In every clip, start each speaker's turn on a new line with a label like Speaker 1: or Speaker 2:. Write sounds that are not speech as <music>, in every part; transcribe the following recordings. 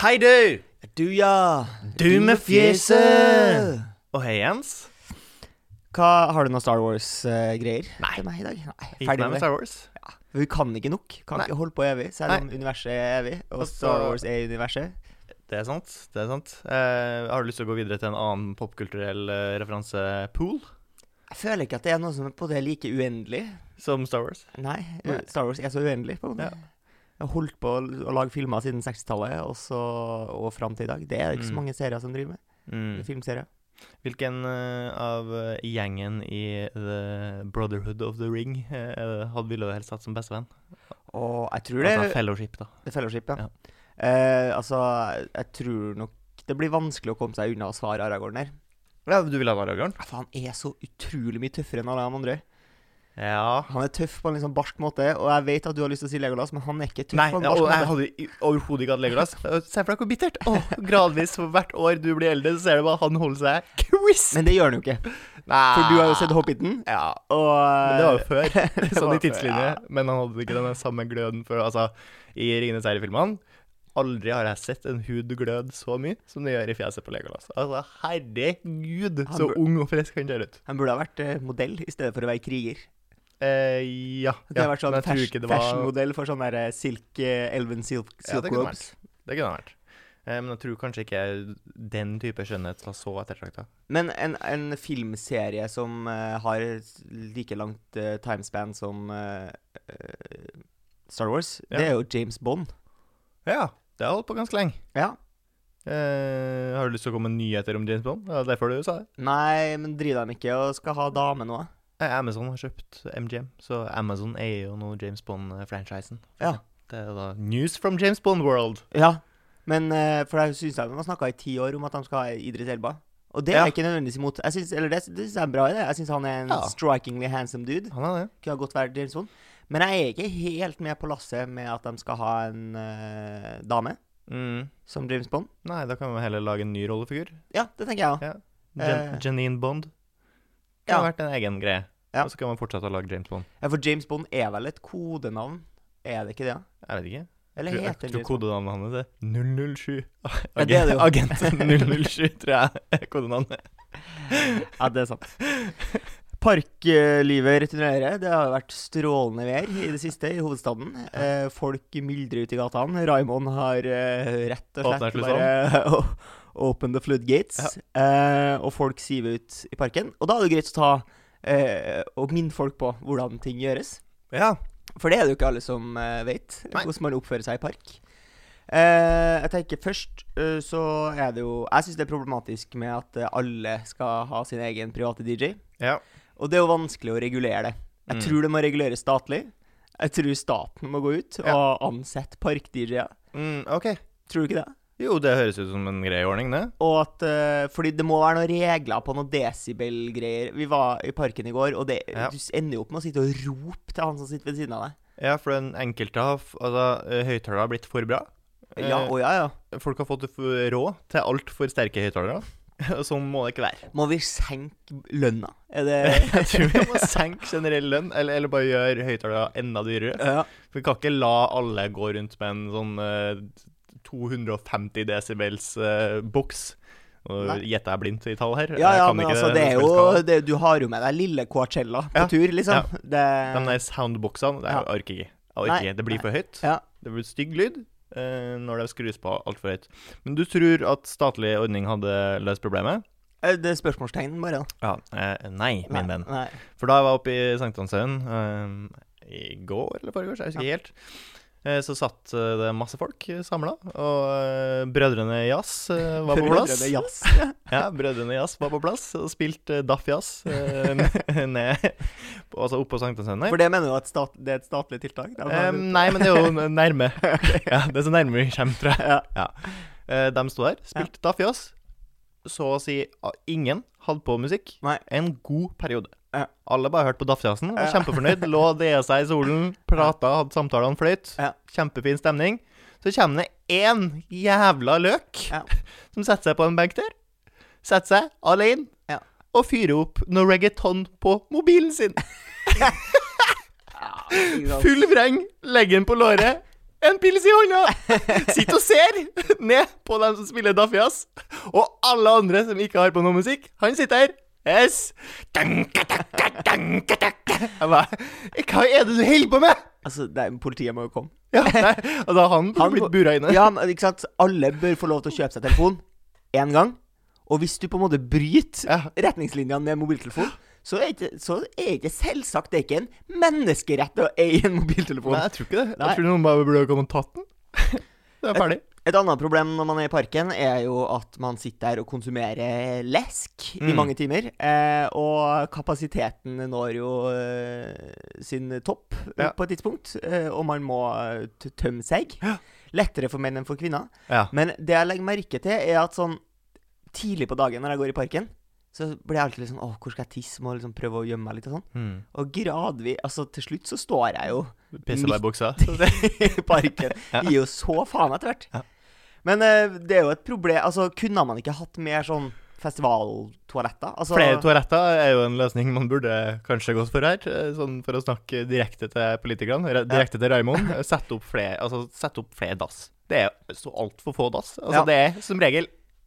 Speaker 1: Hei, du!
Speaker 2: Du, ja.
Speaker 1: Du med fjeset! Og hei, Jens.
Speaker 2: Hva, har du noen Star Wars-greier til meg i dag? Nei,
Speaker 1: Gikk
Speaker 2: ferdig
Speaker 1: meg
Speaker 2: med
Speaker 1: med
Speaker 2: det.
Speaker 1: Star Wars.
Speaker 2: Vi kan ikke nok. Kan
Speaker 1: Nei.
Speaker 2: ikke holde på evig, selv
Speaker 1: Nei.
Speaker 2: om universet er evig, og
Speaker 1: Og så-
Speaker 2: Star Wars er universet.
Speaker 1: Det er sant. det er sant. Eh, har du lyst til å gå videre til en annen popkulturell eh, referansepool
Speaker 2: Jeg føler ikke at det er noe som er på det like uendelig.
Speaker 1: som Star Wars?
Speaker 2: Nei,
Speaker 1: Nei.
Speaker 2: Star Wars er så uendelig, på en måte.
Speaker 1: Ja.
Speaker 2: Jeg har holdt på å l- å lage filmer siden 60-tallet og, så- og fram til i dag. Det er det ikke så
Speaker 1: Mm.
Speaker 2: mange serier som driver med.
Speaker 1: Mm.
Speaker 2: Filmserier.
Speaker 1: Hvilken eh, av eh, gjengen i The Brotherhood of the Ring eh, hadde ville du helst hatt som bestevenn?
Speaker 2: Og jeg tror det
Speaker 1: Altså Fellowship, da.
Speaker 2: The Fellowship, ja.
Speaker 1: Ja.
Speaker 2: Eh, altså, jeg tror nok det blir vanskelig å komme seg unna å svare Aragorn der.
Speaker 1: Ja, Du ville ha Aragorn?
Speaker 2: Ja, For han er så utrolig mye tøffere enn alle de andre.
Speaker 1: Ja.
Speaker 2: Han er tøff på en litt sånn barsk måte, og jeg vet at du har lyst til å si Legolas, men han er ikke tøff
Speaker 1: Nei,
Speaker 2: på en
Speaker 1: ja, og
Speaker 2: barsk
Speaker 1: jeg
Speaker 2: måte.
Speaker 1: hadde i- overhodet ikke hatt Legolas. Eh, Se for deg hvor bittert. Åh, gradvis, for hvert år du blir eldre, så ser du bare han holder seg crisp.
Speaker 2: Men det gjør han jo ikke,
Speaker 1: Nei.
Speaker 2: for du har jo sett Hobbiten.
Speaker 1: Ah. Ja.
Speaker 2: Og eh,
Speaker 1: Men det var jo før, <laughs>
Speaker 2: Det
Speaker 1: sånn
Speaker 2: var
Speaker 1: i
Speaker 2: før,
Speaker 1: tidslinje.
Speaker 2: ja.
Speaker 1: Men han hadde ikke den samme gløden for Altså, i 'Ringenes herre'-filmene Aldri har jeg sett en hud glød så mye som det gjør i fjeset på Legolas. Altså, herregud,
Speaker 2: Han
Speaker 1: så
Speaker 2: bur-
Speaker 1: ung og frisk han ser ut.
Speaker 2: Han burde ha vært eh, modell i stedet for å være kriger.
Speaker 1: Eh, ja.
Speaker 2: Det
Speaker 1: ja,
Speaker 2: har vært sånn
Speaker 1: men jeg tror
Speaker 2: fashion-
Speaker 1: ikke det var-
Speaker 2: fashion-modell for sånn der eh, silk, eh, elven silk,
Speaker 1: Ja,
Speaker 2: silk
Speaker 1: det kunne
Speaker 2: robes.
Speaker 1: Det kunne han vært. Eh, men jeg tror kanskje ikke den type skjønnhet var så ettertrakta.
Speaker 2: Men en, en filmserie som eh, har like langt eh, timespan som eh, eh, Star Wars,
Speaker 1: Ja.
Speaker 2: det er jo James Bond.
Speaker 1: Ja, det har holdt på ganske lenge.
Speaker 2: Ja.
Speaker 1: Eh, har du lyst til å komme med nyheter om James Bond? Det var derfor du sa det.
Speaker 2: Nei, men driver de ikke og skal ha dame nå?
Speaker 1: Eh, Amazon har kjøpt MGM, så Amazon eier jo nå James Bond-franchisen.
Speaker 2: Ja.
Speaker 1: Det er da news from James Bond world.
Speaker 2: Ja. Men eh, for jeg syns de har snakka i ti år om at de skal ha Idris Elba. Og det er
Speaker 1: Ja.
Speaker 2: jeg ikke nødvendigvis imot. Jeg synes, eller det, det synes jeg er en bra idé. Jeg syns han er en
Speaker 1: Ja.
Speaker 2: strikingly handsome dude.
Speaker 1: Han er det.
Speaker 2: Kunne godt vært James Bond. Men jeg er ikke helt med på lasset med at de skal ha en eh, dame
Speaker 1: Mm.
Speaker 2: som James Bond.
Speaker 1: Nei, da kan vi heller lage en ny rollefigur.
Speaker 2: Ja, det tenker jeg òg.
Speaker 1: Jan
Speaker 2: Eh.
Speaker 1: Janine Bond. Det
Speaker 2: Ja.
Speaker 1: har vært en egen greie.
Speaker 2: Ja.
Speaker 1: Og så kan man fortsette å lage James Bond.
Speaker 2: Ja, for James Bond er vel et kodenavn? Er det ikke det? da?
Speaker 1: Jeg vet ikke.
Speaker 2: Eller
Speaker 1: Tror, jeg
Speaker 2: heter
Speaker 1: tror
Speaker 2: James Bond?
Speaker 1: kodenavnet hans er 007.
Speaker 2: <laughs> Ja, det er det jo.
Speaker 1: Agent 007, tror jeg er kodenavnet.
Speaker 2: Ja, det er sant. Parklivet returnerer. Det har jo vært strålende vær i det siste i hovedstaden. Eh, folk myldrer ute i gatene. Raymond har eh, rett og
Speaker 1: Åpnet sånn.
Speaker 2: slett
Speaker 1: slusene.
Speaker 2: bare <laughs> å- open the floodgates. Eh, og folk siver ut i parken. Og da er det greit å ta eh, og minne folk på hvordan ting gjøres.
Speaker 1: Ja.
Speaker 2: For det er det jo ikke alle som eh, vet,
Speaker 1: Nei.
Speaker 2: hvordan man oppfører seg i park. Eh, jeg tenker først eh, så er det jo Jeg syns det er problematisk med at eh, alle skal ha sin egen private DJ.
Speaker 1: ja.
Speaker 2: Og det er jo vanskelig å regulere det. Jeg
Speaker 1: Mm.
Speaker 2: tror det må reguleres statlig. Jeg tror staten må gå ut
Speaker 1: Ja.
Speaker 2: og ansette park-DJ-er.
Speaker 1: Mm, OK.
Speaker 2: Tror du ikke det?
Speaker 1: Jo, det høres ut som en grei ordning, det.
Speaker 2: Og at, eh, fordi det må være noen regler på noen desibel-greier. Vi var i parken i går, og det,
Speaker 1: Ja.
Speaker 2: du ender jo opp med å sitte og rope til han som sitter ved siden av deg.
Speaker 1: Ja, for den enkelte har f- Altså, eh, høyttalere har blitt for bra.
Speaker 2: Ja,
Speaker 1: Eh,
Speaker 2: å ja, ja.
Speaker 1: Folk har fått f- råd til altfor sterke høyttalere. <laughs> og Sånn må det ikke være.
Speaker 2: Må vi senke lønna? Er det
Speaker 1: <laughs> Jeg tror vi må senke generell lønn, eller, eller bare gjøre høyttalere enda dyrere.
Speaker 2: <laughs> Ja.
Speaker 1: For vi kan ikke la alle gå rundt med en sånn eh, 250 desibels eh, boks. Nå
Speaker 2: Nei.
Speaker 1: gjetter jeg blindt i tall her.
Speaker 2: Ja,
Speaker 1: Jeg
Speaker 2: ja,
Speaker 1: kan
Speaker 2: men
Speaker 1: ikke
Speaker 2: altså, det er jo
Speaker 1: spillskala.
Speaker 2: det, Du har jo med deg lille Coachella på
Speaker 1: Ja,
Speaker 2: tur, liksom.
Speaker 1: De
Speaker 2: Det,
Speaker 1: der soundboksene, det
Speaker 2: Ja.
Speaker 1: orker jeg ikke. Jeg orker
Speaker 2: Nei,
Speaker 1: ikke. Det blir
Speaker 2: nei.
Speaker 1: for høyt.
Speaker 2: Ja.
Speaker 1: Det blir stygg lyd eh, når det skrus på altfor høyt. Men du tror at statlig ordning hadde løst problemet?
Speaker 2: eh, det er spørsmålstegn, bare. da.
Speaker 1: Ja. Eh, nei, min venn.
Speaker 2: Nei.
Speaker 1: For da jeg var oppe i Sankthanshaugen eh, i går eller foregårs, jeg husker ikke helt, eh, så satt eh, det masse folk samla, og eh, Brødrene Jazz eh, var på plass.
Speaker 2: Brødrene Jazz.
Speaker 1: Ja, Brødrene Jazz var på plass og spilte eh, Daff Jazz eh, <laughs> ned, på- altså oppå Sankthanshaugen der.
Speaker 2: For det mener du at stat, det er et statlig tiltak? Da,
Speaker 1: Eh, nei, men det er
Speaker 2: <laughs>
Speaker 1: jo n- nærme. ja, det er så nærme vi kommer, tror jeg.
Speaker 2: Ja.
Speaker 1: Ja. Eh, de sto der, spilte ja. Daffy Oss. Så å si ah, ingen hadde på musikk.
Speaker 2: Nei.
Speaker 1: En god periode.
Speaker 2: Ja.
Speaker 1: Alle bare hørte på Daffjassen, var
Speaker 2: Ja.
Speaker 1: kjempefornøyd. Lå og dea seg i solen, prata, hadde samtalene fløyt.
Speaker 2: Ja.
Speaker 1: Kjempefin stemning. Så kommer det én jævla løk
Speaker 2: Ja.
Speaker 1: <laughs> som setter seg på en benk der. Setter seg alene
Speaker 2: Ja.
Speaker 1: og fyrer opp noe reggaeton på mobilen sin.
Speaker 2: Ja, ikke sant.
Speaker 1: Full vreng, legger den på låret, en pils i hånda! Sitter og ser ned på dem som spiller Daffy Jazz, og alle andre som ikke har på noe musikk. Han sitter her. Yes. Dunkatakka, dunkatakka. Jeg bare Hva er det du holder på med?!
Speaker 2: Altså, det er, politiet må jo komme.
Speaker 1: Ja, nei, altså, han burde
Speaker 2: Han
Speaker 1: blitt
Speaker 2: må-
Speaker 1: bura inne.
Speaker 2: Ja, men ikke sant? Alle bør få lov til å kjøpe seg telefon én gang. Og hvis du på en måte bryter
Speaker 1: Ja.
Speaker 2: retningslinjene med mobiltelefon, så er ikke, så er ikke selvsagt det er ikke en menneskerett å eie en mobiltelefon.
Speaker 1: Nei, jeg tror ikke det.
Speaker 2: Nei.
Speaker 1: Jeg tror noen bare burde komme og tatt den. Det er ferdig.
Speaker 2: Et annet problem når man er i parken, er jo at man sitter der og konsumerer lesk i
Speaker 1: Mm.
Speaker 2: mange timer. Eh, og kapasiteten når jo eh, sin topp eh,
Speaker 1: Ja.
Speaker 2: på et tidspunkt, eh, og man må eh, t- tømme seg.
Speaker 1: Ja.
Speaker 2: Lettere for menn enn for kvinner.
Speaker 1: Ja.
Speaker 2: Men det jeg legger merke til, er at sånn tidlig på dagen når jeg går i parken, så blir jeg alltid litt sånn Å, hvor skal jeg tisse? Må liksom prøve å gjemme meg litt og sånn.
Speaker 1: Mm.
Speaker 2: Og gradvis Altså, til slutt så står jeg jo
Speaker 1: Pisser deg i buksa.
Speaker 2: <laughs> i parken.
Speaker 1: <laughs> Ja.
Speaker 2: Gir jo så faen etter hvert.
Speaker 1: Ja.
Speaker 2: Men eh, det er jo et problem Altså, kunne man ikke hatt mer sånn festivaltoaletter? Altså,
Speaker 1: Flere toaletter er jo en løsning man burde kanskje gått for her. eh, Sånn for å snakke direkte til politikerne, re- direkte til Raimond. eh, Sette opp flere altså, sett opp flere dass. Det er jo så altfor få dass. Altså,
Speaker 2: Ja.
Speaker 1: Det er som regel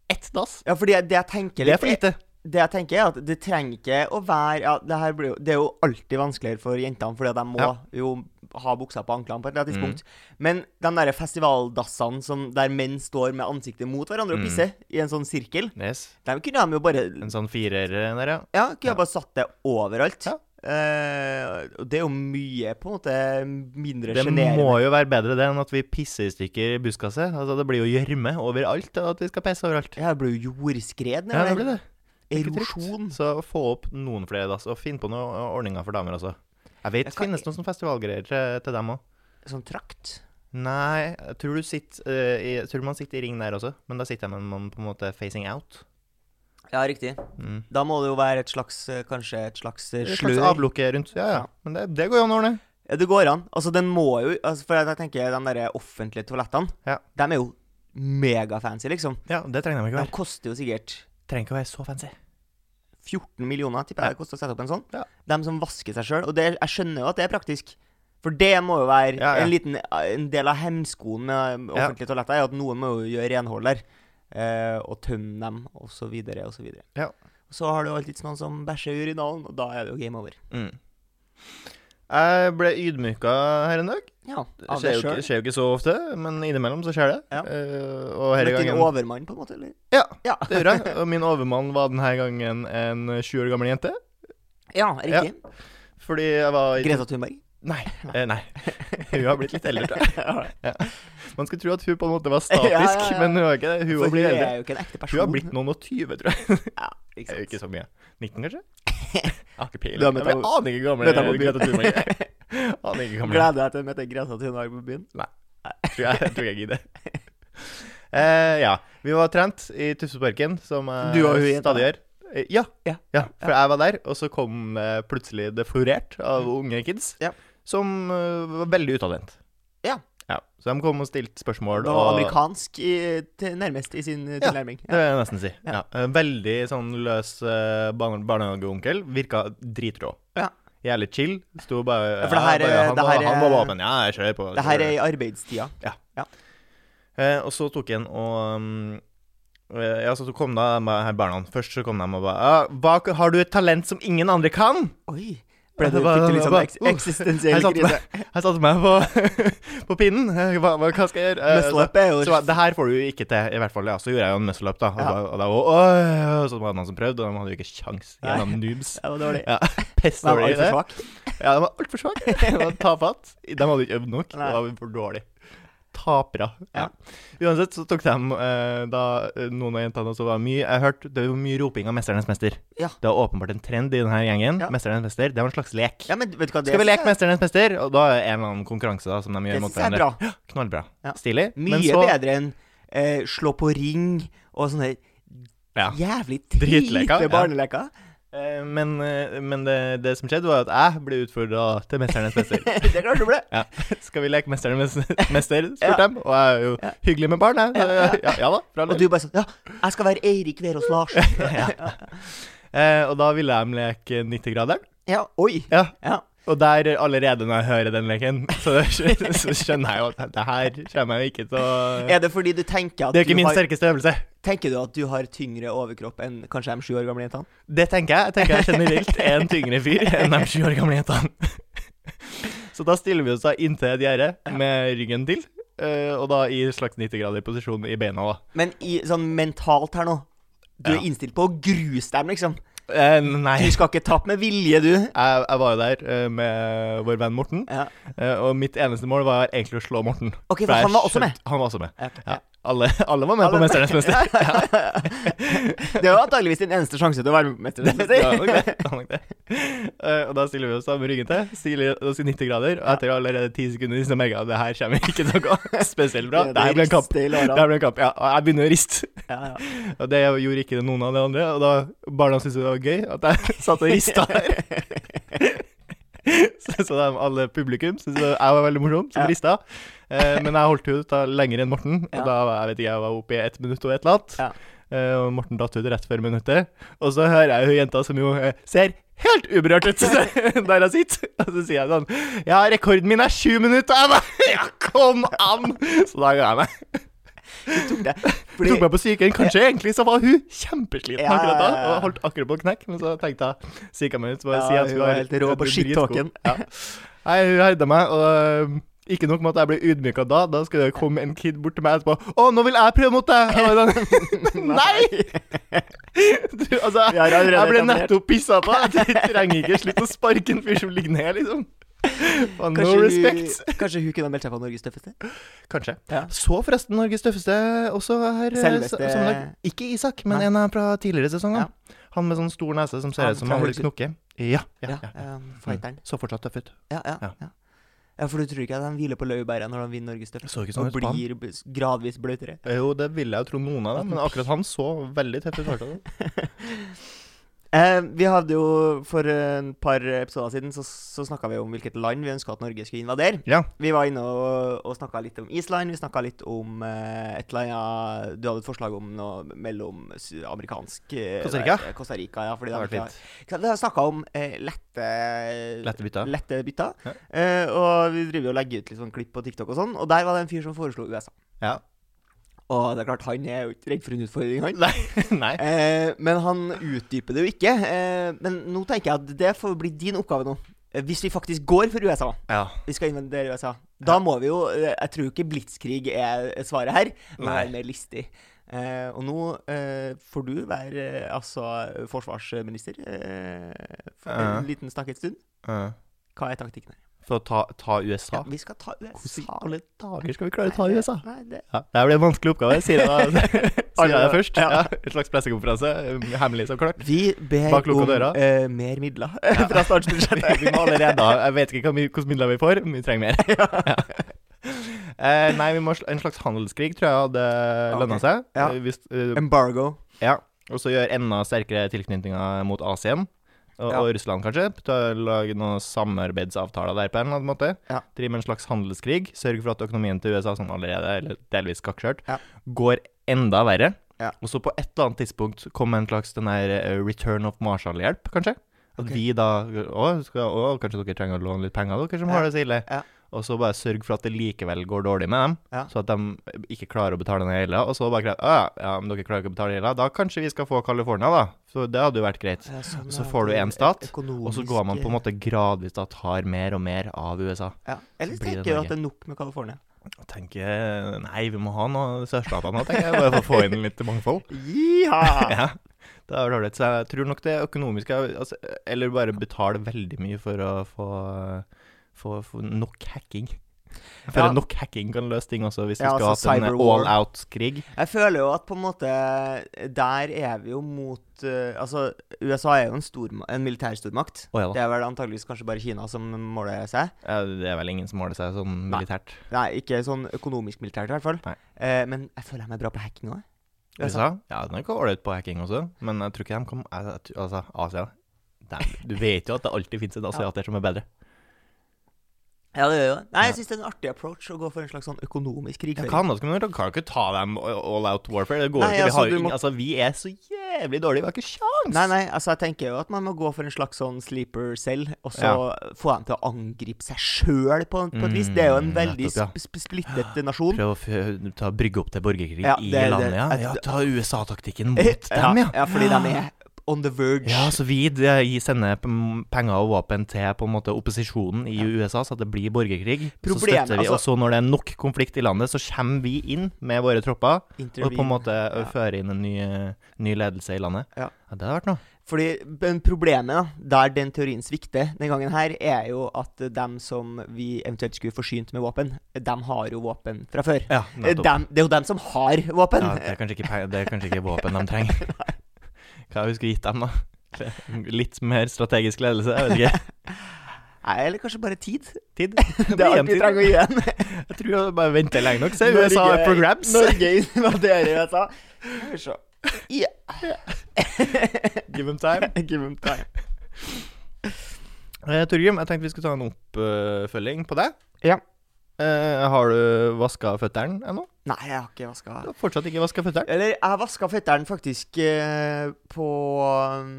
Speaker 1: ett dass.
Speaker 2: Ja, fordi det jeg tenker
Speaker 1: Det er
Speaker 2: litt
Speaker 1: for lite.
Speaker 2: det jeg tenker er at det trenger ikke å være ja, det, her blir jo, det er jo alltid vanskeligere for jentene, fordi at de må
Speaker 1: Ja. Mm.
Speaker 2: jo ha buksa på anklene på et eller annet tidspunkt. Men de der festivaldassene som, der menn står med ansiktet mot hverandre
Speaker 1: Mm.
Speaker 2: og pisser i en sånn sirkel,
Speaker 1: Yes.
Speaker 2: de kunne de jo bare
Speaker 1: En sånn firer der, ja.
Speaker 2: Ja, kunne jeg bare satt det overalt.
Speaker 1: Ja.
Speaker 2: Eh, og det er jo mye på en måte mindre
Speaker 1: Det
Speaker 2: sjenerende.
Speaker 1: må jo være bedre det enn at vi pisser i stykker i buskaset. Altså, det blir jo gjørme overalt og at vi skal pisse overalt.
Speaker 2: Ja, det blir jo jordskred
Speaker 1: Ja, det
Speaker 2: nedi
Speaker 1: blir det. Ikke trygt.
Speaker 2: Erosjon.
Speaker 1: Så få opp noen flere dass, og finn på noen ordninger for damer også. Jeg vet
Speaker 2: Jeg
Speaker 1: det
Speaker 2: kan-
Speaker 1: finnes noen sånne festivalgreier til, til dem òg.
Speaker 2: Sånn trakt.
Speaker 1: Nei, jeg tror, du sitter, eh, i, jeg tror man sitter i ring der også, men da sitter man, man på en måte facing out.
Speaker 2: Ja, riktig.
Speaker 1: Mm.
Speaker 2: Da må det jo være et slags eh, Kanskje et slags eh,
Speaker 1: Et slags
Speaker 2: slør.
Speaker 1: avlukke rundt. Ja, ja.
Speaker 2: Ja.
Speaker 1: Men det, det går jo an å ordne.
Speaker 2: Ja, det går an. Altså, den må jo altså, For jeg tenker, de der offentlige toalettene,
Speaker 1: Ja.
Speaker 2: de er jo megafancy, liksom.
Speaker 1: Ja, det trenger de ikke
Speaker 2: De
Speaker 1: å være.
Speaker 2: koster jo sikkert
Speaker 1: Trenger ikke å være så fancy.
Speaker 2: 14 millioner, tipper jeg det koster å sette opp en sånn.
Speaker 1: Ja.
Speaker 2: De som vasker seg sjøl. Og det, jeg skjønner jo at det er praktisk. For det må jo være
Speaker 1: Ja, ja.
Speaker 2: En, liten, en del av hemskoen med
Speaker 1: Ja.
Speaker 2: offentlige toaletter, er at noen må jo gjøre renhold der. eh, og tømme dem, og så videre, og så videre.
Speaker 1: Ja.
Speaker 2: Så har du alltids noen som bæsjer i urinalen, og da er det jo game over.
Speaker 1: Mm. Jeg ble ydmyka her en dag.
Speaker 2: Ja,
Speaker 1: Det
Speaker 2: av
Speaker 1: skjer
Speaker 2: deg
Speaker 1: jo, ikke,
Speaker 2: sjøl.
Speaker 1: skjer jo ikke så ofte, men innimellom så skjer det.
Speaker 2: Ja.
Speaker 1: Eh, og
Speaker 2: Møtte
Speaker 1: denne
Speaker 2: din
Speaker 1: gangen
Speaker 2: overmann, på en måte? eller?
Speaker 1: Ja,
Speaker 2: Ja,
Speaker 1: det gjorde jeg. Og min overmann var denne gangen en 20 år gammel jente.
Speaker 2: ja riktig.
Speaker 1: Fordi jeg var i
Speaker 2: Greta Thunberg.
Speaker 1: Nei. eh, nei. <laughs> hun har blitt litt eldre, tror jeg.
Speaker 2: <laughs> Ja.
Speaker 1: Man skulle tro at hun på en måte <laughs> var statisk,
Speaker 2: Ja, ja, ja.
Speaker 1: men hun er ikke det. Hun
Speaker 2: For
Speaker 1: har blitt
Speaker 2: hun
Speaker 1: eldre.
Speaker 2: er jo ikke en ekte person.
Speaker 1: Hun har blitt noen og tyve, tror jeg.
Speaker 2: ja,
Speaker 1: Det er
Speaker 2: ikke
Speaker 1: jo
Speaker 2: sant.
Speaker 1: ikke så mye. 19, kanskje? Jeg har ikke
Speaker 2: Du
Speaker 1: peiling.
Speaker 2: har
Speaker 1: Jeg
Speaker 2: møtt
Speaker 1: vet-
Speaker 2: henne-
Speaker 1: aner ikke hvor gammel
Speaker 2: møtt henne på
Speaker 1: Greta Thunberg
Speaker 2: <laughs>
Speaker 1: er. Aner ikke hvor gammel
Speaker 2: Gleder deg til å møte Greta Thunberg på byen.
Speaker 1: tror jeg, jeg tror jeg gidder. Eh, ja. Vi var trent i Tufseparken, som jeg
Speaker 2: Du og hun jenta.
Speaker 1: stadig gjør. Eh, Ja,
Speaker 2: Ja.
Speaker 1: ja, for jeg var der, og så kom det plutselig det florert av unge kids
Speaker 2: Mm. Ja.
Speaker 1: som eh, var veldig utadvendt.
Speaker 2: Ja.
Speaker 1: Så de kom og stilte spørsmål.
Speaker 2: Det var
Speaker 1: og-
Speaker 2: amerikansk i, til, nærmest i sin eh,
Speaker 1: Ja.
Speaker 2: tilnærming.
Speaker 1: Det vil jeg nesten si.
Speaker 2: Ja.
Speaker 1: Ja. Eh, Veldig sånn løs eh, barne- barnehageonkel. Virka dritrå.
Speaker 2: Ja.
Speaker 1: Jævlig chill. Sto bare,
Speaker 2: Ja, for det her
Speaker 1: ja, bare han,
Speaker 2: er- det her
Speaker 1: var, han var
Speaker 2: er-
Speaker 1: åpen. Ja, jeg kjører på.
Speaker 2: Det her er i arbeidstida.
Speaker 1: Eh, og så tok han og um, eh, Ja, så kom da de her barna Først så kom de og ba «Ah, hva, Har du et talent som ingen andre kan?
Speaker 2: Oi! Ble
Speaker 1: Ja,
Speaker 2: det
Speaker 1: det var-
Speaker 2: fikk du litt
Speaker 1: det
Speaker 2: sånn
Speaker 1: var-
Speaker 2: eks
Speaker 1: uh, Jeg
Speaker 2: eksistensiell
Speaker 1: satte
Speaker 2: krise?
Speaker 1: meg, jeg satte meg på, på <laughs> pinnen. Eh, Hva, hva, hva skal jeg gjøre? Eh,
Speaker 2: Muscle up er jo
Speaker 1: så var- det her får du jo ikke til, i hvert fall. Ja. Så gjorde jeg jo en muscle up, da. Og,
Speaker 2: Ja.
Speaker 1: da- og da og, «Åh», så var det noen som prøvde, og de hadde jo ikke kjangs.
Speaker 2: Nei.
Speaker 1: Gjennom noobs.
Speaker 2: Det var dårlig. <laughs>
Speaker 1: Ja, Piss
Speaker 2: Men
Speaker 1: dårlig
Speaker 2: var
Speaker 1: i det.
Speaker 2: altfor svak.
Speaker 1: Ja, de var altfor svake.
Speaker 2: <laughs>
Speaker 1: De var tafatt. De hadde ikke øvd nok.
Speaker 2: Nei.
Speaker 1: Det var for dårlig. Tapere. Ja. Uansett så tok de eh, da eh, noen av jentene også var mye Jeg hørte det var mye roping av 'Mesternes mester'.
Speaker 2: Ja.
Speaker 1: Det var åpenbart en trend i denne gjengen.
Speaker 2: Ja.
Speaker 1: 'Mesternes mester' det var en slags lek.
Speaker 2: Ja, men vet du hva det
Speaker 1: Skal vi leke 'Mesternes mester'? Og da er det en eller annen konkurranse da som de
Speaker 2: Det
Speaker 1: gjør mot
Speaker 2: syns jeg er
Speaker 1: hverandre.
Speaker 2: bra.
Speaker 1: <gasps> Knallbra.
Speaker 2: Ja.
Speaker 1: Stilig.
Speaker 2: Mye bedre enn eh, slå på ring og sånne
Speaker 1: Ja.
Speaker 2: jævlig
Speaker 1: Drittleker, ja.
Speaker 2: teite barneleker. <laughs>
Speaker 1: Eh, Men, eh, men det, det som skjedde, var at jeg ble utfordra til 'Mesternes mester'.
Speaker 2: det klarte du ble.
Speaker 1: Ja. <laughs> Skal vi leke 'Mesternes mester'? spurte
Speaker 2: <laughs> Ja.
Speaker 1: de. Og jeg er jo hyggelig med barn, jeg. Så, ja, ja, da. for all del.
Speaker 2: Og
Speaker 1: <laughs>
Speaker 2: du bare sånn Ja, jeg skal være Eirik Verås Larsen.
Speaker 1: Eh, og da ville de leke 90-graderen.
Speaker 2: Ja, <laughs> oi.
Speaker 1: Ja.
Speaker 2: Ja.
Speaker 1: Og der, allerede når jeg hører den leken, så, <laughs> så skjønner jeg jo at det her kommer jeg jo ikke til å
Speaker 2: Er det fordi du tenker at,
Speaker 1: Det er jo ikke
Speaker 2: du
Speaker 1: min
Speaker 2: har,
Speaker 1: sterkeste øvelse.
Speaker 2: tenker du at du har tyngre overkropp enn kanskje de sju år gamle jentene?
Speaker 1: Det tenker jeg. Jeg tenker jeg generelt er en tyngre fyr enn de sju år gamle jentene. <laughs> Så da stiller vi oss da inntil et gjerde med ryggen til, eh, og da i slags 90-grader posisjon i beina òg.
Speaker 2: Men i, sånn mentalt her nå Du
Speaker 1: Ja.
Speaker 2: er innstilt på å gruse dem, liksom.
Speaker 1: nei.
Speaker 2: Du
Speaker 1: Jeg,
Speaker 2: skal ikke tape med vilje, du.
Speaker 1: jeg var jo der eh, med vår venn Morten,
Speaker 2: Ja.
Speaker 1: eh, og mitt eneste mål var egentlig å slå Morten.
Speaker 2: OK, for
Speaker 1: For jeg
Speaker 2: han var også
Speaker 1: skjønte-
Speaker 2: med.
Speaker 1: Han var også med.
Speaker 2: Ja.
Speaker 1: Ja. Alle, alle var med
Speaker 2: Alle-
Speaker 1: på 'Mesternes
Speaker 2: <laughs>
Speaker 1: mester'.
Speaker 2: Det var antageligvis din eneste sjanse til å være med på
Speaker 1: Det var nok det.
Speaker 2: Mesternes
Speaker 1: det, var nok det. <laughs> Eh, og da stiller vi oss da med ryggen til, stiller oss i 90 grader, og etter allerede 10 sekunder så merker jeg at det her kommer ikke til å gå <laughs> spesielt bra. Det her blir en kamp.
Speaker 2: Det
Speaker 1: Det her blir en kamp, ja, og jeg begynner å riste.
Speaker 2: Ja, ja.
Speaker 1: Og det gjorde ikke noen av de andre, og da barna syntes det var gøy at jeg <laughs> satt og rista her.
Speaker 2: <laughs>
Speaker 1: Så, så de, alle publikum syntes det- jeg var veldig morsom som
Speaker 2: Ja.
Speaker 1: rista. Eh, men jeg holdt jo ut da lenger enn Morten, og
Speaker 2: Ja.
Speaker 1: da var jeg vet ikke, jeg var oppe i ett minutt og et eller annet.
Speaker 2: Ja.
Speaker 1: Eh, og Morten datt ut rett før minuttet. Og så hører jeg jo jenta som jo eh, ser helt uberørt ut <laughs> der hun sitter. Og så sier jeg sånn Ja, rekorden min er sju minutter. Jeg bare <laughs> Ja, kom an! Så da ga jeg meg.
Speaker 2: Du tok det.
Speaker 1: Fordi... Tok meg på sykehjem. Kanskje egentlig så var hun kjempesliten
Speaker 2: Ja,
Speaker 1: akkurat da,
Speaker 2: ja, ja.
Speaker 1: og holdt akkurat på å knekke, men så tenkte jeg Så gikk jeg meg ut og
Speaker 2: Ja,
Speaker 1: si at
Speaker 2: hun
Speaker 1: hun
Speaker 2: var
Speaker 1: var
Speaker 2: helt rå på
Speaker 1: dritgod.
Speaker 2: shit-talken.
Speaker 1: Ja. Nei, hun herda meg, og øhm, ikke nok med at jeg ble ydmyka da, da skulle det komme en kid bort til meg etterpå 'Å, nå vil jeg prøve mot deg!' Jeg
Speaker 2: <laughs>
Speaker 1: var sånn, Nei! Du, altså,
Speaker 2: Vi har allerede
Speaker 1: jeg ble
Speaker 2: etablert.
Speaker 1: nettopp pissa på. Jeg trenger ikke slutte å sparke en fyr som ligger ned,
Speaker 2: <laughs>
Speaker 1: liksom. Faen, no
Speaker 2: Kanskje,
Speaker 1: respect.
Speaker 2: hun, kanskje hun kunne ha meldt seg på Norges tøffeste?
Speaker 1: Kanskje.
Speaker 2: Ja.
Speaker 1: Så forresten Norges tøffeste også her. eh,
Speaker 2: Selveste-
Speaker 1: sa- sammenlagt. Ikke Isak, men
Speaker 2: Nei.
Speaker 1: en av fra tidligere sesonger. Han med sånn stor nese som ser
Speaker 2: Han
Speaker 1: ut som
Speaker 2: fra
Speaker 1: han vil
Speaker 2: Haugesund.
Speaker 1: knokke. Ja, ja, ja.
Speaker 2: Ja, ehm, fighteren.
Speaker 1: Så fortsatt tøff ut.
Speaker 2: Ja, ja,
Speaker 1: Ja.
Speaker 2: ja. ja, for du tror ikke at han hviler på laurbæra når han vinner Norges tøffeste?
Speaker 1: Så ikke sånn
Speaker 2: Og
Speaker 1: ut på han.
Speaker 2: blir b- gradvis bløtere?
Speaker 1: Eh, Jo, det ville jeg jo tro noen av dem, men akkurat han så veldig tøff ut. fortsatt.
Speaker 2: Eh, vi hadde jo For et par episoder siden så, så snakka vi om hvilket land vi ønska at Norge skulle invadere.
Speaker 1: Ja.
Speaker 2: Vi var inne og, og snakka litt om Island. Vi snakka litt om eh, et eller annet Du hadde et forslag om noe mellom s- amerikansk eh,
Speaker 1: Costa Rica?
Speaker 2: eh, Costa Rica, ja. Fordi
Speaker 1: Det
Speaker 2: de
Speaker 1: har
Speaker 2: ikke
Speaker 1: vært
Speaker 2: har-
Speaker 1: fint.
Speaker 2: ikke sant, Vi har snakka om eh, lette
Speaker 1: Lette bytter.
Speaker 2: lette bytter.
Speaker 1: Ja.
Speaker 2: Eh, og vi driver og legger ut litt sånn klipp på TikTok og sånn. Og der var det en fyr som foreslo USA.
Speaker 1: Ja. <laughs>
Speaker 2: Og det er klart, han er jo ikke redd for en utfordring, han.
Speaker 1: Nei.
Speaker 2: Eh, men han utdyper det jo ikke. Eh, men nå tenker jeg at det får bli din oppgave nå. Eh, Hvis vi faktisk går for USA,
Speaker 1: Ja.
Speaker 2: vi skal invadere USA, da må vi jo eh, Jeg tror ikke blitskrig er svaret her, men
Speaker 1: Nei.
Speaker 2: være mer listig. Eh, og nå eh, får du være eh, altså forsvarsminister eh, for
Speaker 1: Ja.
Speaker 2: en liten snakket stund.
Speaker 1: Eh,
Speaker 2: Hva er taktikken her?
Speaker 1: For å ta, ta USA?
Speaker 2: vi skal ta USA.
Speaker 1: Hvordan i alle dager skal vi klare å ta USA?
Speaker 2: Nei, det,
Speaker 1: Ja, det her blir en vanskelig oppgave, sier
Speaker 2: <laughs>
Speaker 1: jeg da. Sier jeg det først?
Speaker 2: Ja.
Speaker 1: Ja, en slags pressekonferanse. eh, Hemmelig, så klart.
Speaker 2: vi ber
Speaker 1: Bak lukka
Speaker 2: om
Speaker 1: døra.
Speaker 2: eh, mer midler <laughs> fra statsbudsjettet.
Speaker 1: <laughs> Vi må allerede ha Jeg vet ikke hva mye- hvordan midler vi får, men vi trenger mer.
Speaker 2: <laughs>
Speaker 1: Ja. Eh, nei, vi må sl en slags handelskrig tror jeg hadde
Speaker 2: Ok.
Speaker 1: lønna seg.
Speaker 2: Ja.
Speaker 1: Eh, Hvis, eh,
Speaker 2: Embargo.
Speaker 1: ja. Og så gjøre enda sterkere tilknytninger mot Asien. Og,
Speaker 2: Ja.
Speaker 1: og Russland, kanskje. Ta- Lage noen samarbeidsavtaler der på en eller annen måte.
Speaker 2: Ja.
Speaker 1: Drive med en slags handelskrig. Sørge for at økonomien til USA, som allerede er litt delvis kakkskjørt,
Speaker 2: Ja.
Speaker 1: går enda verre.
Speaker 2: Ja.
Speaker 1: Og så på et eller annet tidspunkt kommer en slags den her eh, return of Marshall-hjelp, kanskje. At
Speaker 2: Ok.
Speaker 1: vi da å, skal, å, kanskje dere trenger å låne litt penger, dere som
Speaker 2: Ja.
Speaker 1: har det så ille.
Speaker 2: Ja.
Speaker 1: Og så bare sørge for at det likevel går dårlig med dem,
Speaker 2: Ja.
Speaker 1: så at de ikke klarer å betale ned gjelda. Og så bare kreve «Å ja, ja, men dere klarer ikke å betale gjelda, da kanskje vi skal få California, da. Så det hadde jo vært greit.
Speaker 2: Ja, sånn,
Speaker 1: Så
Speaker 2: ja,
Speaker 1: får du
Speaker 2: det
Speaker 1: en
Speaker 2: er
Speaker 1: stat,
Speaker 2: økonomisk,
Speaker 1: Og så går man på en måte gradvis da tar mer og mer av USA.
Speaker 2: ja. Eller
Speaker 1: så blir det
Speaker 2: tenker du
Speaker 1: Norge.
Speaker 2: at det er nok med California?
Speaker 1: Og tenker Nei, vi må ha noe sørstater nå, tenker jeg, bare for å få inn litt mangfold.
Speaker 2: Jiha!
Speaker 1: <laughs> Ja, det er vel ålreit. Så jeg tror nok det økonomiske altså, Eller bare betale veldig mye for å få, få, få nok hacking. For
Speaker 2: Ja.
Speaker 1: nok hacking kan løse ting også, hvis
Speaker 2: Ja,
Speaker 1: vi skal
Speaker 2: altså
Speaker 1: ha hatt en
Speaker 2: cyberwar.
Speaker 1: all out-krig.
Speaker 2: Jeg føler jo at på en måte Der er vi jo mot eh, Altså, USA er jo en, storma- en militær stormakt.
Speaker 1: Å ja
Speaker 2: Det
Speaker 1: da.
Speaker 2: er vel antageligvis kanskje bare Kina som måler seg.
Speaker 1: Ja, Det er vel ingen som måler seg sånn
Speaker 2: Nei.
Speaker 1: militært.
Speaker 2: Nei, ikke sånn økonomisk militært, i hvert fall.
Speaker 1: Nei.
Speaker 2: Eh, men jeg føler jeg er bra på hacking òg. USA?
Speaker 1: USA? Ja, den er ikke ålreit på hacking også, men jeg tror ikke de kom jeg- jeg tror- Altså, Asia Dem- Du vet jo at det alltid fins en asiater som er bedre.
Speaker 2: Ja, det gjør jo det. Nei,
Speaker 1: Ja.
Speaker 2: jeg syns det er en artig approach å gå for en slags sånn økonomisk
Speaker 1: Ja,
Speaker 2: krigføring.
Speaker 1: hva annet skal man gjøre? Du kan jo ikke ta dem all out warfare. Det går jo
Speaker 2: Nei,
Speaker 1: ikke. Vi,
Speaker 2: altså,
Speaker 1: har jo
Speaker 2: du
Speaker 1: ingen,
Speaker 2: må-
Speaker 1: altså, vi er så jævlig dårlig. Vi har ikke sjans'.
Speaker 2: Nei, nei, altså jeg tenker jo at man må gå for en slags sånn sleeper selv, og så få dem til å angripe seg sjøl på, på et vis. Det er jo en
Speaker 1: Mm,
Speaker 2: veldig
Speaker 1: nettopp, ja.
Speaker 2: sp sp splittet nasjon.
Speaker 1: Prøv å f- ta brygge opp til borgerkrig
Speaker 2: Ja,
Speaker 1: i
Speaker 2: det- det-
Speaker 1: landet, ja.
Speaker 2: at-
Speaker 1: ja ta USA-taktikken mot dem, <laughs> ja.
Speaker 2: <laughs> ja. Fordi de er on the verge.
Speaker 1: Ja, så vi eh, gi- sender p- penger og våpen til på en måte opposisjonen i USA, så at det blir borgerkrig. så
Speaker 2: Problemet-
Speaker 1: støtter vi. og så når det er nok konflikt i landet, så kommer vi inn med våre tropper og på en
Speaker 2: Intervene.
Speaker 1: måte eh, fører inn en ny, eh, ny ledelse i landet.
Speaker 2: Ja.
Speaker 1: det hadde vært noe.
Speaker 2: Fordi men problemet da, der den teorien svikter den gangen her, er jo at eh, dem som vi eventuelt skulle forsynt med våpen, dem har jo våpen fra før.
Speaker 1: Ja,
Speaker 2: Eh, Dem, det er jo dem som har våpen.
Speaker 1: Ja, det, er kanskje ikke, pe- det er kanskje ikke våpen de <laughs> trenger. Hva har vi skulle gitt dem, da? Litt mer strategisk ledelse? Jeg vet ikke.
Speaker 2: Nei, eller kanskje bare tid.
Speaker 1: <laughs> Tid?
Speaker 2: Det er alt vi trenger å gi en.
Speaker 1: <laughs> Jeg tror jeg bare venter lenge nok, så er USA
Speaker 2: Norge-
Speaker 1: for grabs.
Speaker 2: Norge <laughs> invaderer USA. Skal vi se. Ja.
Speaker 1: Give them time.
Speaker 2: Give them time.
Speaker 1: Eh, Torgrim, jeg tenkte vi skulle ta en oppfølging på deg.
Speaker 2: Ja.
Speaker 1: Eh, har du vaska føttene ennå?
Speaker 2: Nei, jeg har ikke vaska
Speaker 1: Du har fortsatt ikke vaska føttene.
Speaker 2: Eller jeg vaska føttene faktisk eh, på um,